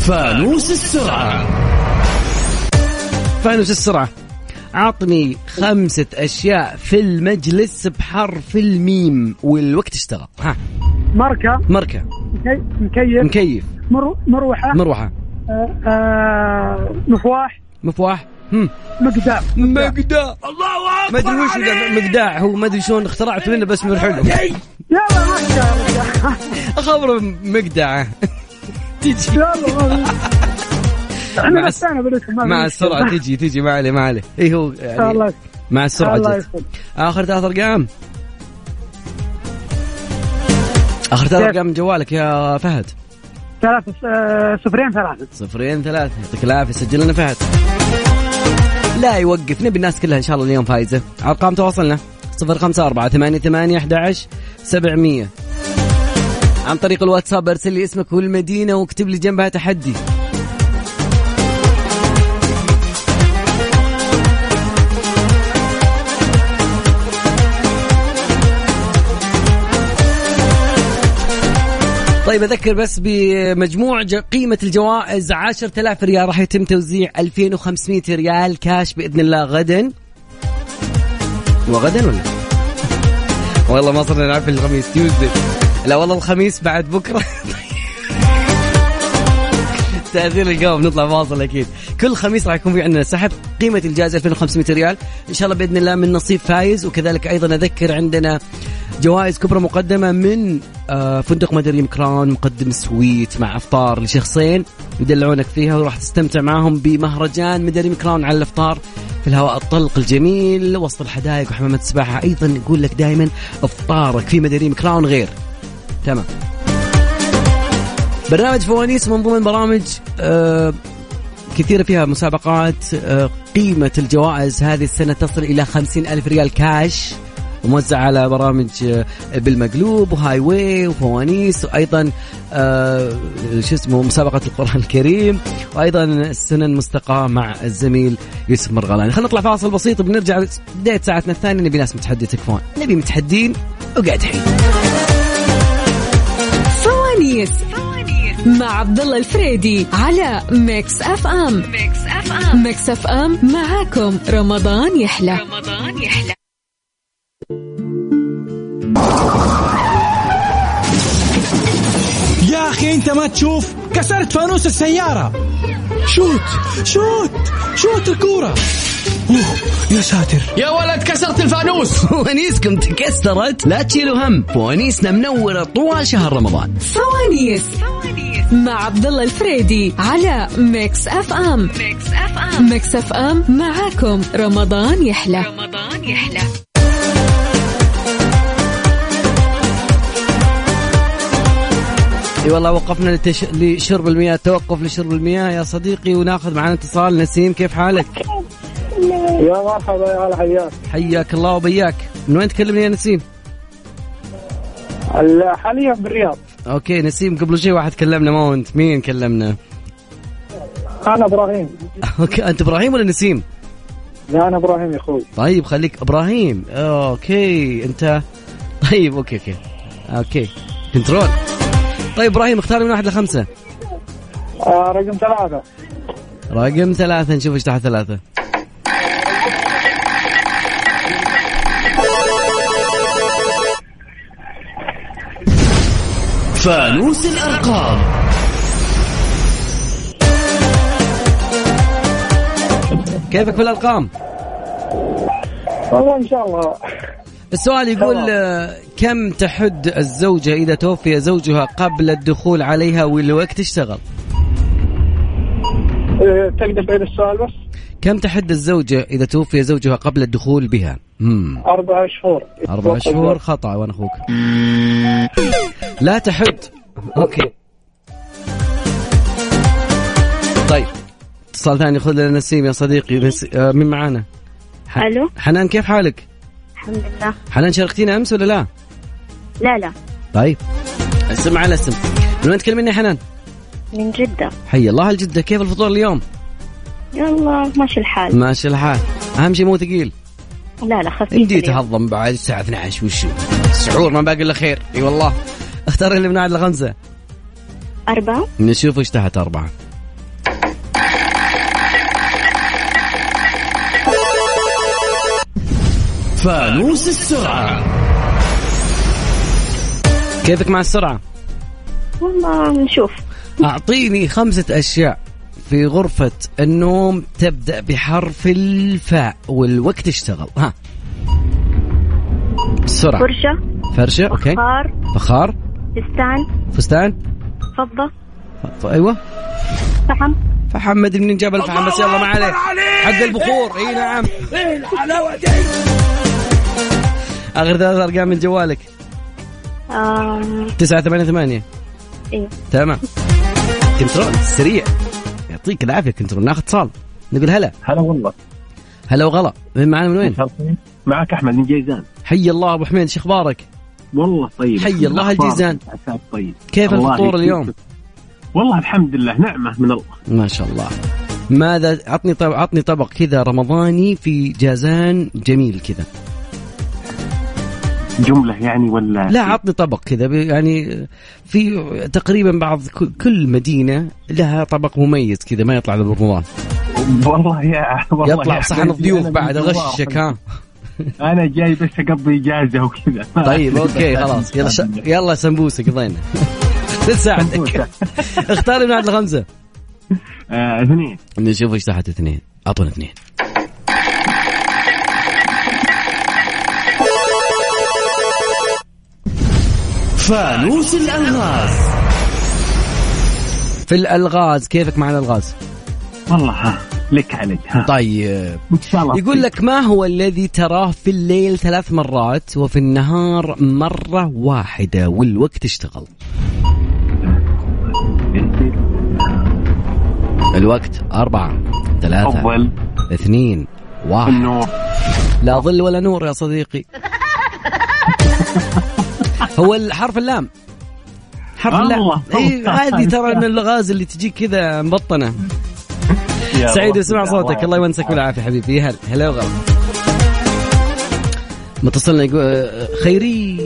C: فانوس السرعة
G: فانوس السرعة عطني خمسة أشياء في المجلس بحرف الميم والوقت اشتغل ها
R: مركه
G: مركة
R: مكي- مكيف
G: مكيف
R: مرو- مروحه
G: مروحة
R: آه، آه، مفواح
G: مفواح هم
R: مقداع
G: مقداع
L: الله
G: ما
L: اكبر
G: ادري وش ذا مقداع هو ما ادري شلون اخترعت منه بس من حلو
R: يلا مركه يا رجال.
G: خبره مقدعة تجي
R: يلا والله.
G: مع
R: احنا
G: الس-
R: نسينا بالاسم ما في
G: مع
R: مشكلة.
G: السرعة تجي تجي ما عليه ما عليه اي هو
R: الله
G: يعني
R: يسلمك.
G: مع السرعة
R: الله
G: جت
R: يسلمك.
G: آخر ثلاث أرقام آخر ثلاث
R: كيف؟
G: أرقام من جوالك يا فهد
R: ثلاثة آه، صفرين ثلاثة
G: صفرين ثلاثة يعطيك العافية سجل لنا فهد لا يوقف نبي الناس كلها إن شاء الله اليوم فايزة أرقام تواصلنا صفر خمسة أربعة ثمانية ثمانية أحد عشر سبعمية عن طريق الواتساب ارسل لي اسمك والمدينة واكتب لي جنبها تحدي طيب اذكر بس بمجموع ج- قيمه الجوائز 10000 ريال راح يتم توزيع 2500 ريال كاش باذن الله غدا وغدا ولا والله ما صرنا نعرف الخميس تيوزداي لا والله الخميس بعد بكره تأثير القوم نطلع فاصل اكيد كل خميس راح يكون في عندنا سحب قيمه الجائزه 2500 ريال ان شاء الله باذن الله من نصيب فايز وكذلك ايضا اذكر عندنا جوائز كبرى مقدمه من آه، فندق مدريم كراون مقدم سويت مع افطار لشخصين يدلعونك فيها وراح تستمتع معهم بمهرجان مدريم كراون على الافطار في الهواء الطلق الجميل وسط الحدائق وحمامات السباحه ايضا يقول لك دائما افطارك في مدريم كراون غير تمام برنامج فوانيس من ضمن برامج آه، كثيرة فيها مسابقات آه، قيمة الجوائز هذه السنة تصل إلى خمسين ألف ريال كاش وموزع على برامج آه، بالمقلوب وهاي واي وفوانيس وايضا آه، شو اسمه مسابقه القران الكريم وايضا السنن مستقاه مع الزميل يوسف مرغلاني خلينا نطلع فاصل بسيط بنرجع بدايه ساعتنا الثانيه نبي ناس متحدي تكفون نبي متحدين وقاعد حين
E: فوانيس مع عبد الله الفريدي على ميكس اف ام ميكس اف ام ميكس اف ام معاكم رمضان يحلى رمضان يحلى
F: يا اخي انت ما تشوف كسرت فانوس السيارة شوت شوت شوت الكورة أوه، يا ساتر
C: يا ولد كسرت الفانوس
G: فوانيسكم تكسرت لا تشيلوا هم فوانيسنا منورة طوال شهر رمضان
E: فوانيس مع عبد الله الفريدي على ميكس اف ام ميكس اف ام ميكس اف ام معاكم رمضان يحلى رمضان يحلى
G: اي والله وقفنا لتش... لشرب المياه توقف لشرب المياه يا صديقي وناخذ معنا اتصال نسيم كيف حالك
N: يا مرحبا يا هلا حياك
G: حياك الله وبياك من وين تكلمني يا نسيم
N: هلا حاليا بالرياض
G: اوكي نسيم قبل شوي واحد كلمنا ما هو انت مين كلمنا
N: انا ابراهيم
G: اوكي انت ابراهيم ولا نسيم
N: لا انا ابراهيم يا اخوي
G: طيب خليك ابراهيم اوكي انت طيب اوكي اوكي اوكي كنترول طيب ابراهيم اختار من واحد لخمسه
N: آه رقم ثلاثة
G: رقم ثلاثة نشوف ايش تحت ثلاثة
C: فانوس الأرقام
G: كيفك في الارقام؟
N: والله ان شاء الله
G: السؤال يقول آه، كم تحد الزوجة إذا توفي زوجها قبل الدخول عليها والوقت اشتغل
N: آه، تقدر تعيد السؤال بس
G: كم تحد الزوجة إذا توفي زوجها قبل الدخول بها مم.
N: أربع شهور
G: أربع شهور خطأ وأنا أخوك لا تحد أوكي طيب اتصال ثاني خذ لنا نسيم يا صديقي بس آه، مين معانا؟ ح-
Q: ألو.
G: حنان كيف حالك؟
Q: الحمد لله
G: حنان شاركتينا أمس ولا لا؟
Q: لا لا
G: طيب اسم على اسم من وين تكلميني يا حنان؟
Q: من جدة
G: حي الله الجدة كيف الفطور اليوم؟
Q: يلا ماشي الحال
G: ماشي الحال اهم شيء مو ثقيل
Q: لا لا خفيف
G: يمدي تهضم بعد الساعه 12 وشو سحور ما باقي الا خير اي والله اختار اللي من عاد لخمسه
Q: أربعة
G: نشوف ايش تحت اربعه
C: فانوس السرعة
G: كيفك مع السرعه؟
Q: والله نشوف
G: اعطيني خمسه اشياء في غرفة النوم تبدأ بحرف الفاء والوقت اشتغل ها بسرعة
Q: فرشة
G: فرشة اوكي
Q: فخار
G: فخار
Q: فستان
G: فستان
Q: فضة
G: ف- ايوه
Q: فحم
G: فحم ما ادري منين جاب الفحم بس يلا ما عليه حق البخور اي نعم
L: ايه الحلاوه دي
G: اخر ثلاث ارقام من جوالك
Q: آم،
G: 988
Q: آه. إيه.
G: تمام كنترول سريع يعطيك العافيه كنترول ناخذ اتصال نقول هلا
S: هلا والله
G: هلا وغلا من معنا من وين؟
S: معك احمد من جيزان
G: حي الله ابو حميد شو اخبارك؟
S: والله طيب
G: حي الله الجيزان.
S: عساك طيب
G: كيف
S: الله
G: الفطور
S: يكرمك.
G: اليوم؟
S: والله الحمد لله نعمه من الله
G: ما شاء الله ماذا عطني طبق عطني طبق كذا رمضاني في جازان جميل كذا
S: جمله يعني ولا
G: لا عطني طبق كذا ب- يعني في تقريبا بعض ك- كل مدينه لها طبق مميز كذا ما يطلع الا برمضان
S: والله يا والله
G: يطلع
S: يا
G: بصحن
S: حبيبي،
G: الضيوف
S: أنا
G: بعد
S: من جوا
G: اغشك ها
S: انا جاي بس اقضي اجازه وكذا
G: طيب اوكي خلاص يلا ش... يلا سمبوسه قضينا نساعدك اختار من عند الخمسه
S: اثنين
G: نشوف ايش تحت اثنين اعطونا اثنين
C: فانوس الألغاز
G: في الالغاز كيفك مع الالغاز؟
S: والله ها لك عليك ها
G: طيب
S: ان شاء الله
G: يقول لك ما هو الذي تراه في الليل ثلاث مرات وفي النهار مرة واحدة والوقت اشتغل الوقت أربعة ثلاثة
S: أول.
G: اثنين واحد
S: النور
G: لا ظل ولا نور يا صديقي هو الحرف اللام حرف اللام
L: الله.
G: اي هذه ترى من اللغاز اللي تجيك كذا مبطنه
L: يا
G: سعيد
L: الله.
G: اسمع
L: يا
G: صوتك
L: الله.
G: الله يونسك بالعافيه حبيبي هلا هلا وغلا متصلنا يقول خيري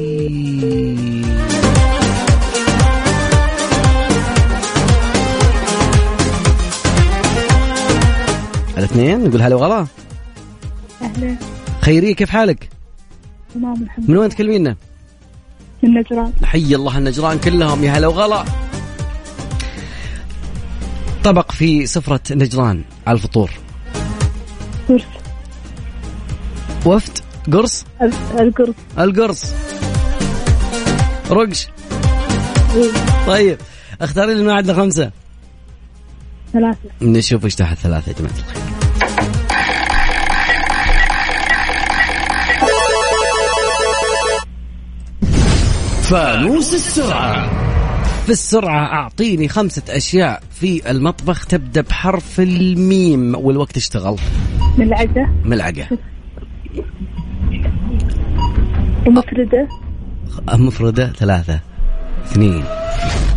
G: الاثنين نقول هلا وغلا
T: أهلا
G: خيري كيف حالك؟
T: تمام الحمد
G: من وين تكلمينا؟
T: لله النجران
G: حي الله النجران كلهم يا هلا وغلا طبق في سفرة نجران على الفطور
T: قرص
G: وفد قرص
T: ال- القرص
G: القرص رقش طيب اختاري لي الماعد لخمسة
T: ثلاثة
G: نشوف ايش تحت ثلاثة يا جماعة الخير فانوس السرعة في السرعة أعطيني خمسة أشياء في المطبخ تبدأ بحرف الميم والوقت اشتغل
T: ملعقة
G: ملعقة
T: ومفردة
G: مفردة ثلاثة اثنين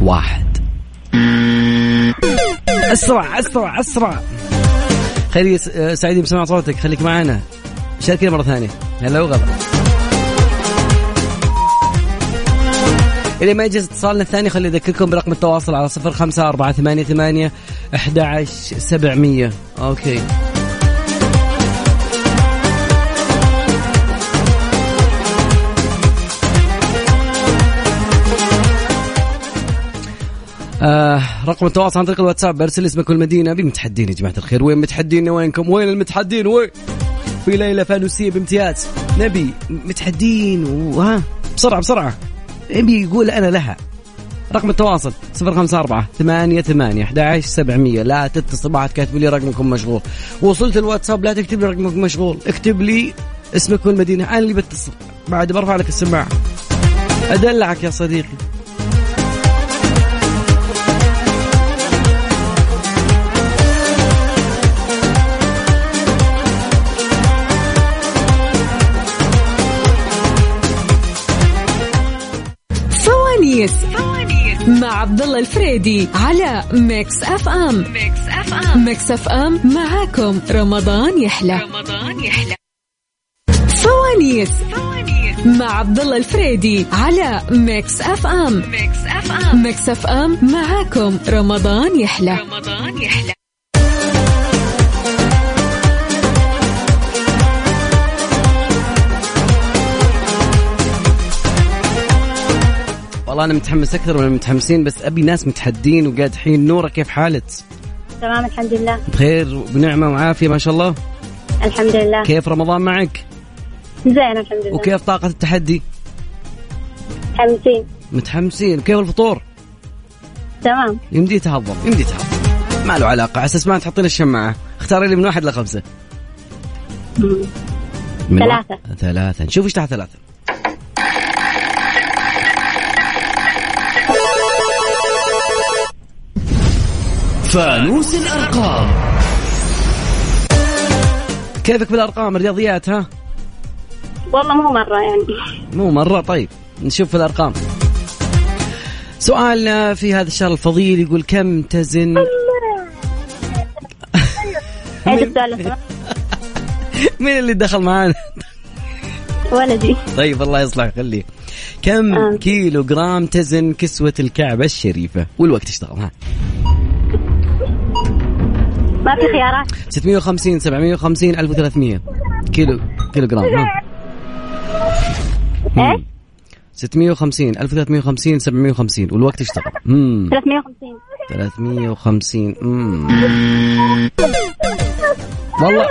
G: واحد اسرع اسرع اسرع خلي س- آه، سعيد بسمع صوتك خليك معنا شاركنا مرة ثانية هلا وغلا إلى ما يجلس اتصالنا الثاني خلي أذكركم برقم التواصل على صفر خمسة أربعة ثمانية ثمانية أحد عشر سبعمية أوكي آه رقم التواصل عن طريق الواتساب ارسل اسمك والمدينه بمتحدين يا جماعه الخير وين متحدين وينكم وين المتحدين وين في ليله فانوسيه بامتياز نبي متحدين وها بسرعه بسرعه نبي يقول انا لها رقم التواصل 054 ثمانية ثمانية 11 700 لا تتصل بعد كاتب لي رقمكم مشغول وصلت الواتساب لا تكتب لي رقمك مشغول اكتب لي اسمك والمدينة أنا اللي بتصل بعد برفع لك السماعة أدلعك يا صديقي
E: فوانيس مع عبد الله الفريدي على ميكس اف ام ميكس اف ام ميكس اف ام معاكم رمضان يحلى رمضان يحلى فوانيس مع عبد الله الفريدي على ميكس اف ام ميكس اف ام ميكس اف ام معاكم رمضان يحلى رمضان يحلى
G: والله انا متحمس اكثر من المتحمسين بس ابي ناس متحدين وقاعد حين نوره كيف حالك؟
O: تمام الحمد لله آه.
G: بخير وبنعمه وعافيه ما شاء الله
O: الحمد لله
G: كيف رمضان معك؟
O: زين الحمد لله
G: وكيف طاقه التحدي؟
O: متحمسين
G: متحمسين وكيف الفطور؟
O: تمام
G: يمدي تهضم يمدي تهضم ما له علاقه على اساس ما تحطين الشماعه اختاري لي من واحد لخمسه من
O: ثلاثة.
G: واحد- ثلاثة نشوف ايش تحت ثلاثة
C: فانوس الأرقام
G: كيفك بالارقام الرياضيات ها؟
O: والله مو مرة يعني
G: مو مرة طيب نشوف الأرقام سؤالنا في هذا الشهر الفضيل يقول كم تزن
O: عيد السؤال
G: مين اللي دخل معانا
O: ولدي
G: طيب الله يصلح خليه
O: آه.
G: كم كيلو جرام تزن كسوة الكعبة الشريفة والوقت اشتغل ها
O: ما في خيارات
G: 650 750 1300 كيلو كيلو جرام ها
O: إيه؟
G: مم. 650 1350 750 والوقت اشتغل مم.
O: 350
G: 350 مم. والله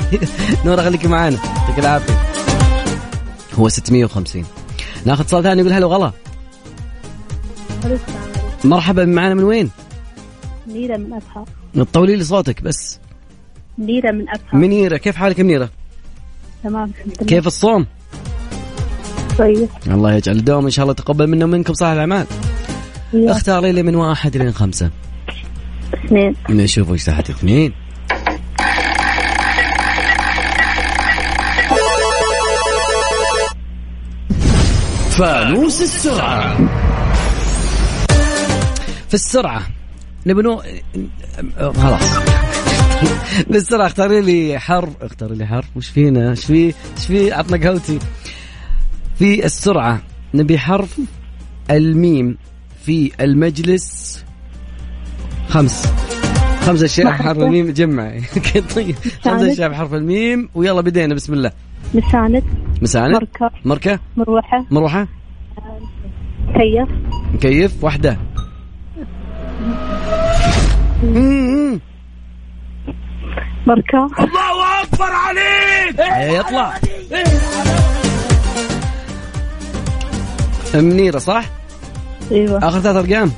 G: نورا خليكي معانا يعطيك العافيه هو 650 ناخذ اتصال ثاني يقول هلا وغلا مرحبا معانا من وين؟
T: منيرة من أبها
G: طولي لي صوتك بس
T: منيرة من أبها
G: منيره كيف حالك يا منيره؟
T: تمام الحمد لله
G: كيف الصوم؟
T: كويس
G: الله يجعل الدوام ان شاء الله تقبل منا ومنكم صالح الاعمال اختاري لي من واحد لين خمسه
T: اثنين
G: نشوف ايش تحت اثنين
C: فانوس السرعة
G: في السرعة نبي نو خلاص بالسرعة اختاري لي حر اختاري لي حر وش فينا ايش في ايش في عطنا قهوتي في السرعة نبي حرف الميم في المجلس خمس خمس اشياء بحرف الميم جمع طيب. خمس اشياء بحرف الميم ويلا بدينا بسم الله
T: مساند
G: مساند
T: مركب
G: مركة
T: مروحة
G: مروحة
T: كيف
G: مكيف واحدة
T: مركب
L: الله اكبر عليك
G: يطلع منيرة صح؟
T: ايوه
G: اخر ثلاث ارقام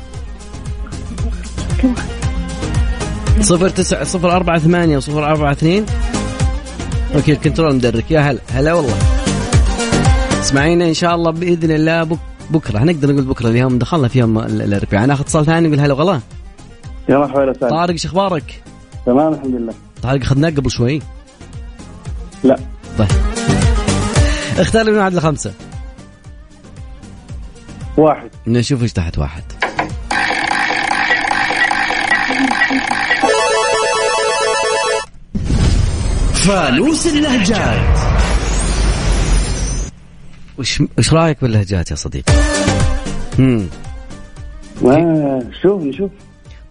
G: صفر تسعة صفر أربعة ثمانية وصفر أربعة اثنين أوكي الكنترول مدرك يا هلا هلا والله اسمعينا إن شاء الله بإذن الله بك بكرة هنقدر نقول بكرة اليوم دخلنا في يوم ال- الأربعاء ناخذ اتصال ثاني نقول هلا وغلا
N: يا مرحبا ولا سهلا
G: طارق ايش اخبارك؟
N: تمام الحمد لله
G: طارق اخذناه طيب، قبل شوي
N: لا
G: طيب اختار لي من واحد لخمسة
N: واحد
G: نشوف ايش تحت واحد
C: فانوس اللهجات
G: وش وش رايك باللهجات يا صديقي؟ امم
N: آه، شوف نشوف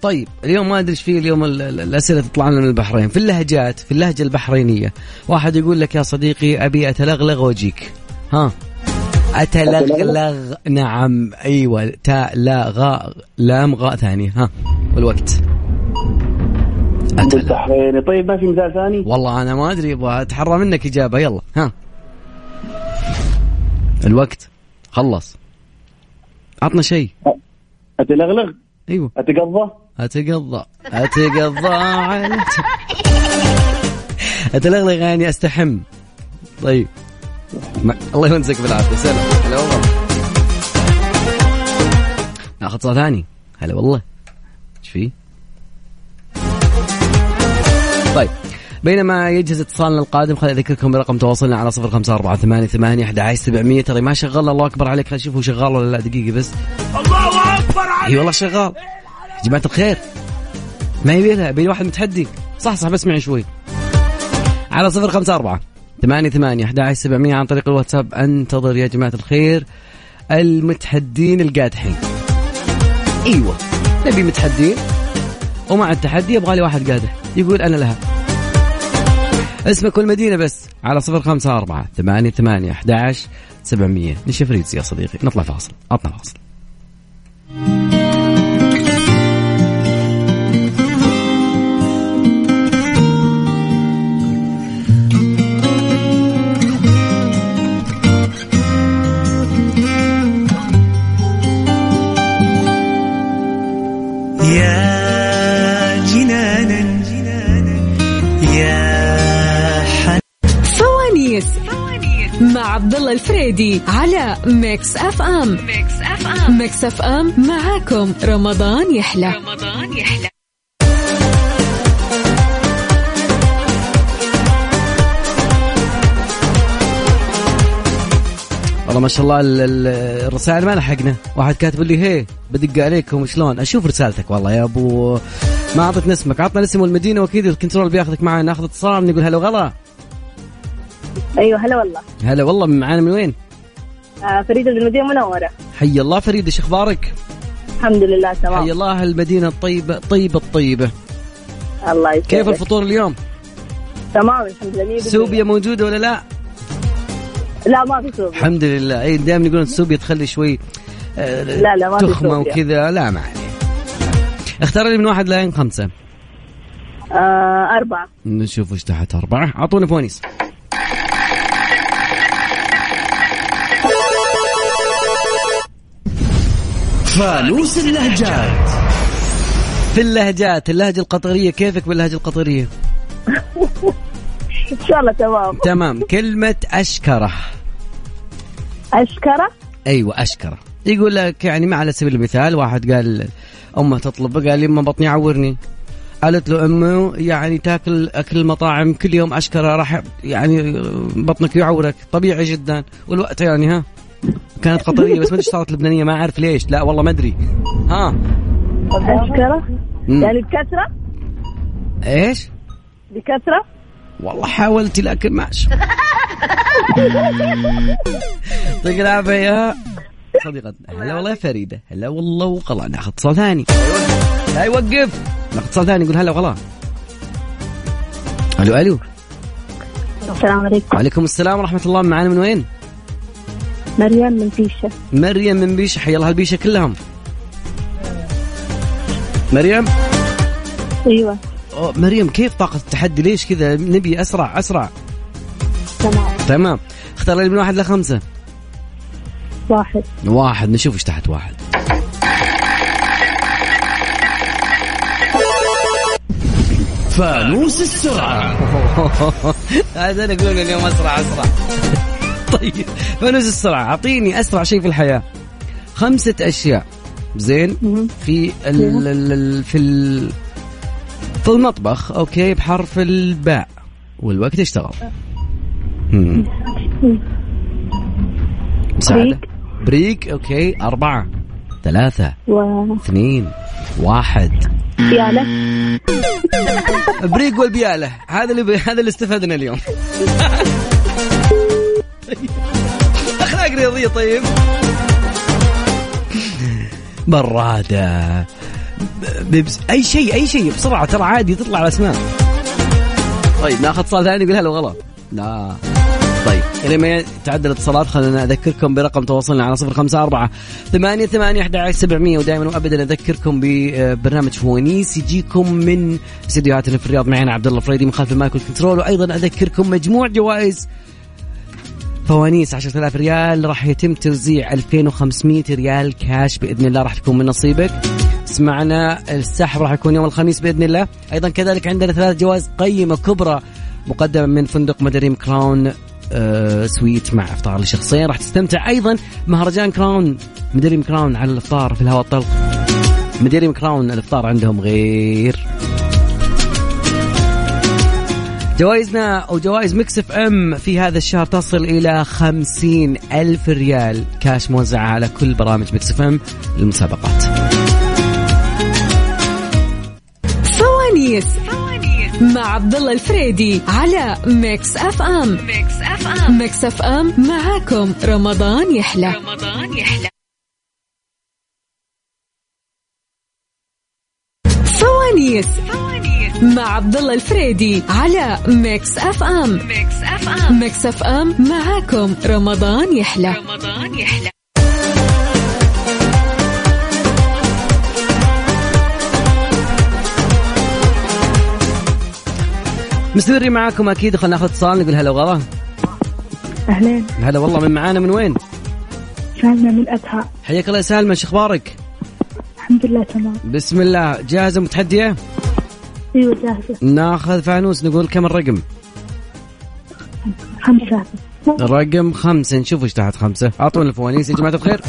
G: طيب اليوم ما ادري ايش فيه اليوم ال- ال- الاسئله تطلع لنا من البحرين في اللهجات في اللهجه البحرينيه واحد يقول لك يا صديقي ابي اتلغلغ واجيك ها اتلغلغ نعم ايوه تاء لا غاء لام غاء ثاني ها والوقت
N: بالبحريني طيب ما في مثال ثاني
G: والله انا ما ادري ابغى اتحرى منك اجابه يلا ها الوقت خلص عطنا شيء
N: اتلغلغ
G: ايوه
N: اتقضى
G: اتقضى اتقضى على اتلغلغ يعني استحم طيب ما... الله يمسك بالعافيه سلام هلا والله ناخذ صوت ثاني هلا والله ايش فيه؟ طيب بينما يجهز اتصالنا القادم خليني اذكركم برقم تواصلنا على 0548811700 ترى ما شغال الله اكبر عليك خلينا نشوف هو شغال ولا لا دقيقه بس
L: الله اكبر
G: اي
L: عليك
G: والله شغال يا جماعه الخير ما يبي لها يبي واحد متحدي صح صح بس معي شوي على صفر خمسة أربعة ثمانية ثمانية أحد سبعمية عن طريق الواتساب أنتظر يا جماعة الخير المتحدين القادحين أيوة نبي متحدين ومع التحدي يبغى لي واحد قادح يقول أنا لها اسمك والمدينة بس على صفر خمسة أربعة ثمانية ثمانية أحد سبعمية نشوف ريتس يا صديقي نطلع فاصل عطنا فاصل
L: يا جنانا يا حنانا
E: فوانيس مع عبد الله الفريدي على ميكس اف ام ميكس اف ام ميكس اف ام معاكم رمضان يحلى رمضان يحلى
G: والله ما شاء الله ال- ال- الرسائل ما لحقنا واحد كاتب لي هي بدق عليكم شلون اشوف رسالتك والله يا ابو ما اعطتنا اسمك اعطنا الاسم والمدينه واكيد الكنترول بياخذك معنا ناخذ اتصال نقول هلا وغلا
T: ايوه هلا والله
G: هلا والله معانا من وين
T: آه فريدة من المدينة المنورة
G: حي الله فريد ايش اخبارك
T: الحمد لله تمام
G: حي الله المدينه الطيبه طيبه الطيبه
T: الله يسعدك
G: كيف الفطور اليوم
T: تمام الحمد لله مية بالمية.
G: سوبيا موجوده ولا لا
T: لا ما في سوبيا
G: الحمد لله اي دائما يقولون السوبيا تخلي شوي آه،
T: لا، لا، ما في
G: تخمه
T: سوبيا.
G: وكذا لا ما عليه اختار لي من واحد لين خمسه
T: آه أربعة
G: نشوف وش تحت أربعة أعطونا فونيس
C: فانوس اللهجات
G: في اللهجات اللهجة القطرية كيفك باللهجة القطرية
T: إن شاء الله تمام
G: تمام كلمة أشكره
T: أشكرة
G: أيوة أشكره يقول لك يعني ما على سبيل المثال واحد قال أمه تطلب قال لي أمه بطني عورني قالت له أمه يعني تاكل أكل المطاعم كل يوم أشكره راح يعني بطنك يعورك طبيعي جدا والوقت يعني ها كانت قطريه بس ما ادري إيش صارت لبنانيه ما اعرف ليش لا والله ما ادري ها
T: الكرة
G: مم.
T: يعني بكثرة
G: ايش
T: بكثرة
G: والله حاولت لكن ما عش- يعطيك العافيه يا صديقتنا هلا والله يا فريده هلا والله وقلا ناخذ اتصال ثاني لا يوقف ناخذ اتصال ثاني يقول هلا وقلا الو الو
Q: السلام عليكم
G: وعليكم السلام ورحمه الله معانا من وين؟
Q: مريم من فيشة
G: مريم من بيشة حيا الله البيشة كلهم مريم
Q: ايوه
G: أوه، مريم كيف طاقة التحدي ليش كذا نبي أسرع أسرع
Q: تمام
G: تمام اختار لي من واحد لخمسة
Q: واحد
G: واحد نشوف ايش تحت واحد
C: فانوس السرعة
G: هذا انا اقول اليوم اسرع اسرع طيب فانوس السرعه اعطيني اسرع شيء في الحياه خمسه اشياء زين في ال ال- ال- في ال في المطبخ اوكي بحرف الباء والوقت اشتغل مم. مساعدة بريك اوكي اربعه ثلاثه
Q: و
G: اثنين واحد
Q: بيالة
G: بريك والبياله هذا اللي هذا اللي استفدنا اليوم اخلاق رياضيه طيب براده بيبس اي شيء اي شيء بسرعه ترى عادي تطلع الاسماء طيب ناخذ اتصال ثاني يقول هلا وغلا لا طيب الى ما تعدل الاتصالات خلينا اذكركم برقم تواصلنا على 054 8 8 11 700 ودائما وابدا اذكركم ببرنامج فوانيس يجيكم من استديوهاتنا في الرياض معنا عبد الله فريدي من خلف المايك والكنترول وايضا اذكركم مجموع جوائز فوانيس 10000 ريال راح يتم توزيع 2500 ريال كاش باذن الله راح تكون من نصيبك اسمعنا السحب راح يكون يوم الخميس باذن الله ايضا كذلك عندنا ثلاث جوائز قيمه كبرى مقدمه من فندق مدريم كراون آه، سويت مع افطار لشخصين راح تستمتع ايضا مهرجان كراون مدريم كراون على الافطار في الهواء الطلق مدريم كراون الافطار عندهم غير جوائزنا أو جوائز ميكس اف ام في هذا الشهر تصل إلى خمسين ألف ريال كاش موزعة على كل برامج ميكس اف ام للمسابقات
E: فوانيس مع عبد الله الفريدي على ميكس اف ام ميكس اف ام ميكس اف ام معاكم رمضان يحلى رمضان يحلى فوانيس مع عبد الله الفريدي على ميكس اف ام ميكس اف ام ميكس اف ام معاكم رمضان يحلى رمضان يحلى
G: مستمرين معاكم أكيد خلينا ناخذ اتصال نقول هلا وغلا
U: أهلين
G: هلا والله من معانا من وين
U: سالمة من أتها
G: حياك الله يا سالمة شو أخبارك
U: الحمد لله تمام
G: بسم الله جاهزة متحدية
U: أيوة جاهزة
G: ناخذ فانوس نقول كم الرقم
U: خمسة
G: رقم خمسة نشوف ايش تحت خمسة اعطونا الفوانيس يا جماعة الخير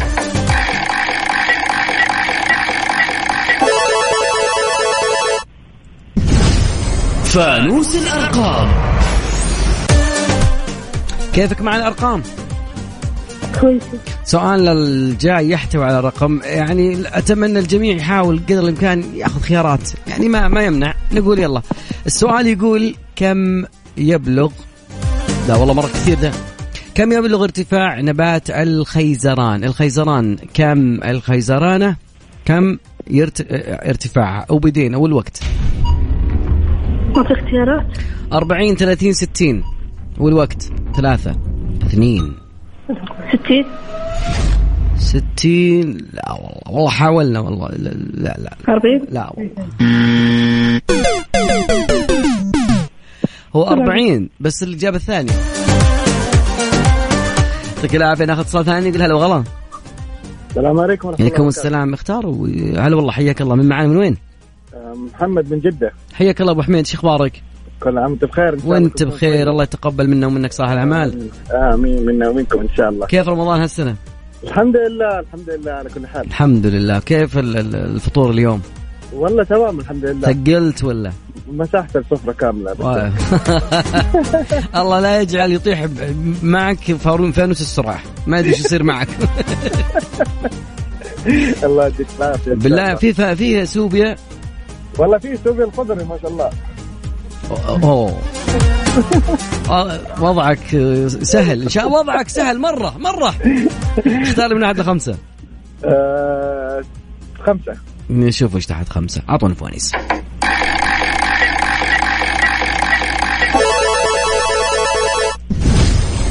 C: فانوس الأرقام
G: كيفك مع الارقام؟
U: كويسة
G: سؤالنا الجاي يحتوي على رقم يعني اتمنى الجميع يحاول قدر الامكان ياخذ خيارات يعني ما ما يمنع نقول يلا السؤال يقول كم يبلغ لا والله مره كثير ده كم يبلغ ارتفاع نبات الخيزران الخيزران كم الخيزرانه كم يرت... ارتفاعها او بدين او الوقت
U: ما في اختيارات
G: 40 30 60 والوقت ثلاثة اثنين
U: ستين
G: 60 لا والله والله حاولنا والله لا لا لا
U: أربعين
G: لا والله هو 40 بس الإجابة الثانية يعطيك العافية ناخذ اتصال ثاني يقول هلا وغلا
N: السلام عليكم ورحمه الله
G: عليكم
N: وبركاته
G: السلام اختار و- هلا والله حياك الله من معانا من وين؟
N: آه، محمد من جدة
G: حياك الله ابو حميد شو اخبارك؟
N: كل عام وانت بخير إن شاء الله
G: وانت
N: تكون
G: بخير الله يتقبل منا ومنك صالح الاعمال
N: امين منا ومنكم ان شاء الله
G: كيف رمضان هالسنه؟
N: الحمد لله الحمد لله على كل حال
G: الحمد لله كيف ال- ال- الفطور اليوم؟
N: والله تمام الحمد لله
G: ثقلت ولا؟
N: مساحة السفرة كاملة
G: واو. الله لا يجعل يطيح ب- معك فارون فانوس السراح ما ادري ايش يصير معك
N: الله يديك العافية
G: بالله في ف- في سوبيا
N: والله في سوبيا الخضري ما شاء الله
G: اوه آه، وضعك آه، سهل ان شاء الله وضعك سهل مره مره اختار من احد لخمسه
N: آه، خمسة
G: نشوف ايش تحت خمسه اعطونا فوانيس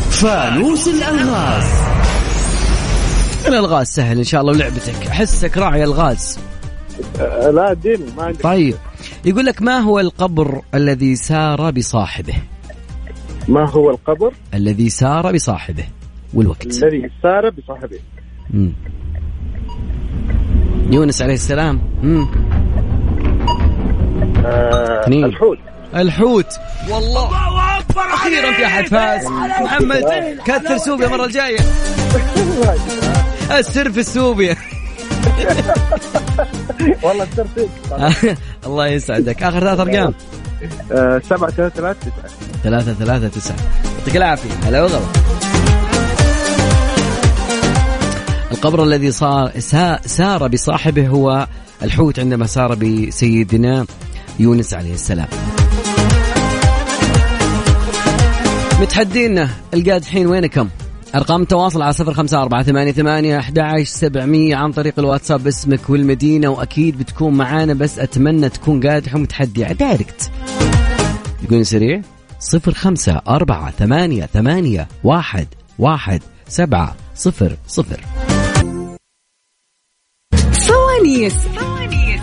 C: فانوس الالغاز
G: الالغاز سهل ان شاء الله ولعبتك احسك راعي الغاز
N: آه، لا اديني ما عندي
G: طيب يقول لك ما هو القبر الذي سار بصاحبه
N: ما هو القبر
G: الذي سار بصاحبه والوقت
N: الذي سار بصاحبه
G: مم. يونس عليه السلام مم.
N: آه،
G: اثنين.
N: الحوت
G: الحوت والله اخيرا في احد فاز محمد كثر سوبيا المره الجايه السر في السوبيا
N: والله السر فيك
G: الله يسعدك اخر ثلاث ارقام
N: آه، سبعة ثلاثة ثلاثة تسعة
G: ثلاثة ثلاثة تسعة يعطيك العافية هلا وغلا القبر الذي صار سا- سار بصاحبه هو الحوت عندما سار بسيدنا يونس عليه السلام متحدينا القادحين وينكم ارقام التواصل على صفر خمسه اربعه ثمانيه ثمانيه أحد عشر سبعمية عن طريق الواتساب اسمك والمدينه واكيد بتكون معانا بس اتمنى تكون قادح ومتحدي على دايركت يقول سريع صفر خمسة أربعة ثمانية ثمانية واحد واحد سبعة صفر صفر
E: فوانيس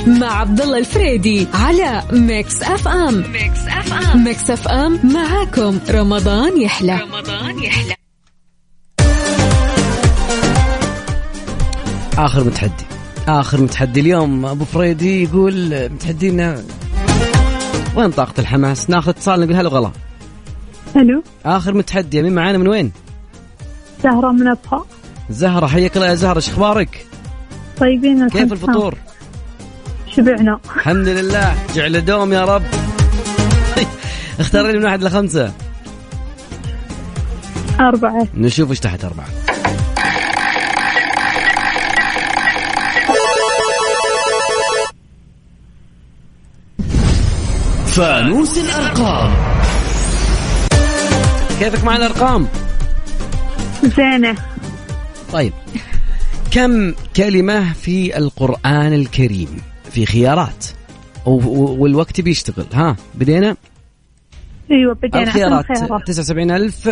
E: مع عبد الله الفريدي على ميكس اف ام ميكس اف ام ميكس اف ام معاكم رمضان يحلى رمضان يحلى
G: آخر متحدي آخر متحدي اليوم أبو فريدي يقول متحدينا وين طاقة الحماس ناخذ اتصال نقول هلا وغلا
T: الو
G: آخر متحدي مين معانا من وين
T: سهرة من أبها
G: زهرة حياك الله يا زهرة شو أخبارك
T: طيبين الحمد لله.
G: كيف الفطور
T: شبعنا
G: الحمد لله جعل دوم يا رب اختار لي من واحد لخمسة
T: أربعة
G: نشوف ايش تحت أربعة
C: فانوس الارقام
G: كيفك مع الأرقام
T: زينة
G: طيب كم كلمة في القرآن الكريم في خيارات و- و- والوقت بيشتغل ها بدينا
T: أيوة بدينا
G: الخيارات
T: عشان خيارات
G: 79000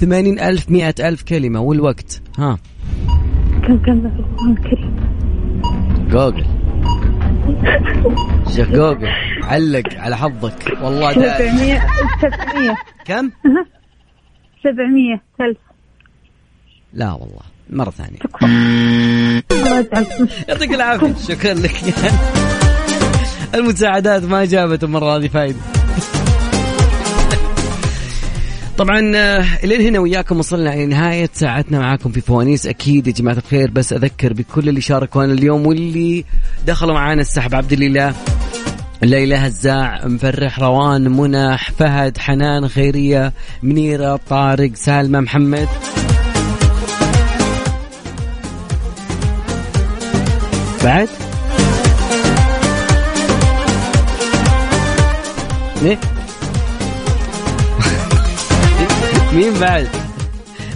G: 80000 100000 كلمة والوقت ها
T: كم كم في القرآن الكريم
G: جوجل شيخ جوجل علق على حظك والله ده
T: 700 700
G: كم؟
T: 700 ألف
G: لا والله مرة ثانية
T: الله يجعلكم
G: يعطيك العافية شكرا لك يعني المساعدات ما جابت المرة هذه فايدة طبعا آه، الين هنا وياكم وصلنا الى نهايه ساعتنا معاكم في فوانيس اكيد يا جماعه الخير بس اذكر بكل اللي شاركونا اليوم واللي دخلوا معانا السحب عبد الاله ليلى هزاع مفرح روان منح فهد حنان خيريه منيره طارق سالمه محمد بعد مين؟ مين بعد؟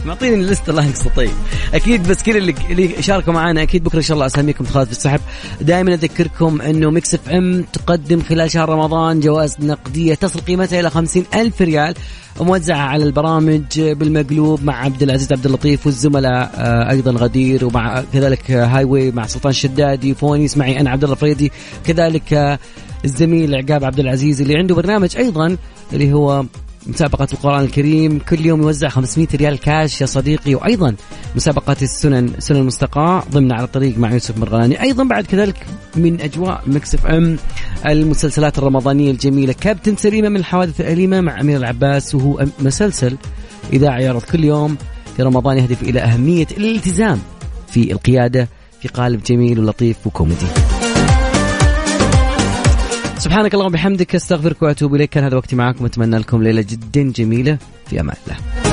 G: معطيني الليست الله يقصد طيب اكيد بس كل اللي اللي شاركوا معنا اكيد بكره ان شاء الله اساميكم تخلص في السحب دائما اذكركم انه ميكس اف ام تقدم خلال شهر رمضان جوائز نقديه تصل قيمتها الى 50 الف ريال موزعه على البرامج بالمقلوب مع عبد العزيز عبد اللطيف والزملاء آه، ايضا غدير ومع كذلك آه، هاي واي مع سلطان الشدادي فونيس معي انا عبد الله فريدي كذلك آه، الزميل عقاب عبد العزيز اللي عنده برنامج ايضا اللي هو مسابقة القرآن الكريم كل يوم يوزع 500 ريال كاش يا صديقي وأيضا مسابقة السنن سنن المستقاة ضمن على الطريق مع يوسف مرغلاني أيضا بعد كذلك من أجواء مكس اف ام المسلسلات الرمضانية الجميلة كابتن سليمة من الحوادث الأليمة مع أمير العباس وهو أم- مسلسل إذاعي يعرض كل يوم في رمضان يهدف إلى أهمية الالتزام في القيادة في قالب جميل ولطيف وكوميدي سبحانك اللهم وبحمدك استغفرك واتوب اليك كان هذا وقتي معكم اتمنى لكم ليله جدا جميله في امان الله